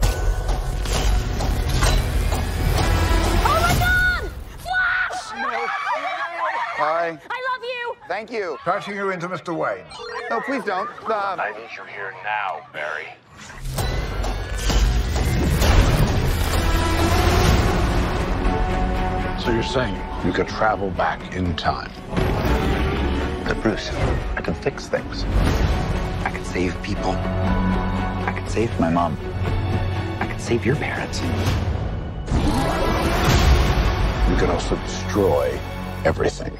Oh Bye. I love you. Thank you. Passing you into Mr. Wayne. No, please don't. Um, I need you here now, Barry. So you're saying you could travel back in time? But Bruce, I can fix things. I can save people. I can save my mom. I can save your parents. You could also destroy everything.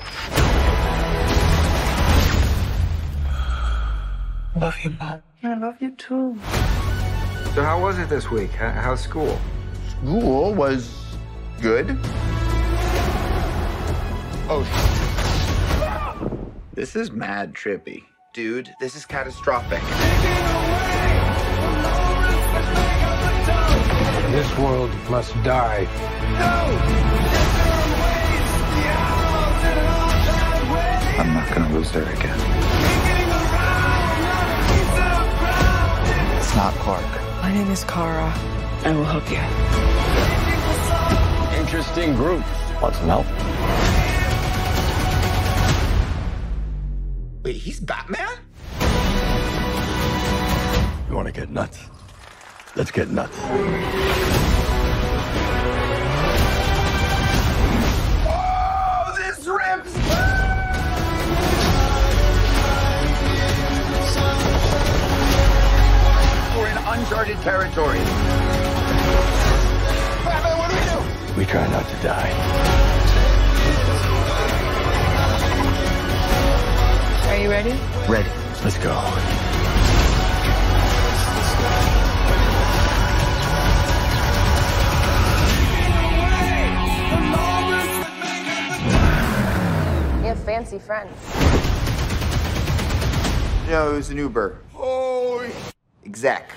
Love you, mom. I love you too. So how was it this week? How, how's school? Rule was good. This is mad trippy. Dude, this is catastrophic. This world must die. I'm not gonna lose her again. It's not Clark. My name is Kara. I will help you. Interesting group. Want some help? Wait, he's Batman? You want to get nuts? Let's get nuts. Oh, this rips! We're in uncharted territory. Batman, what do we do? We try not to die. Are you ready? Ready. Let's go. You have fancy friends. No, it was an Uber. Holy. Exec.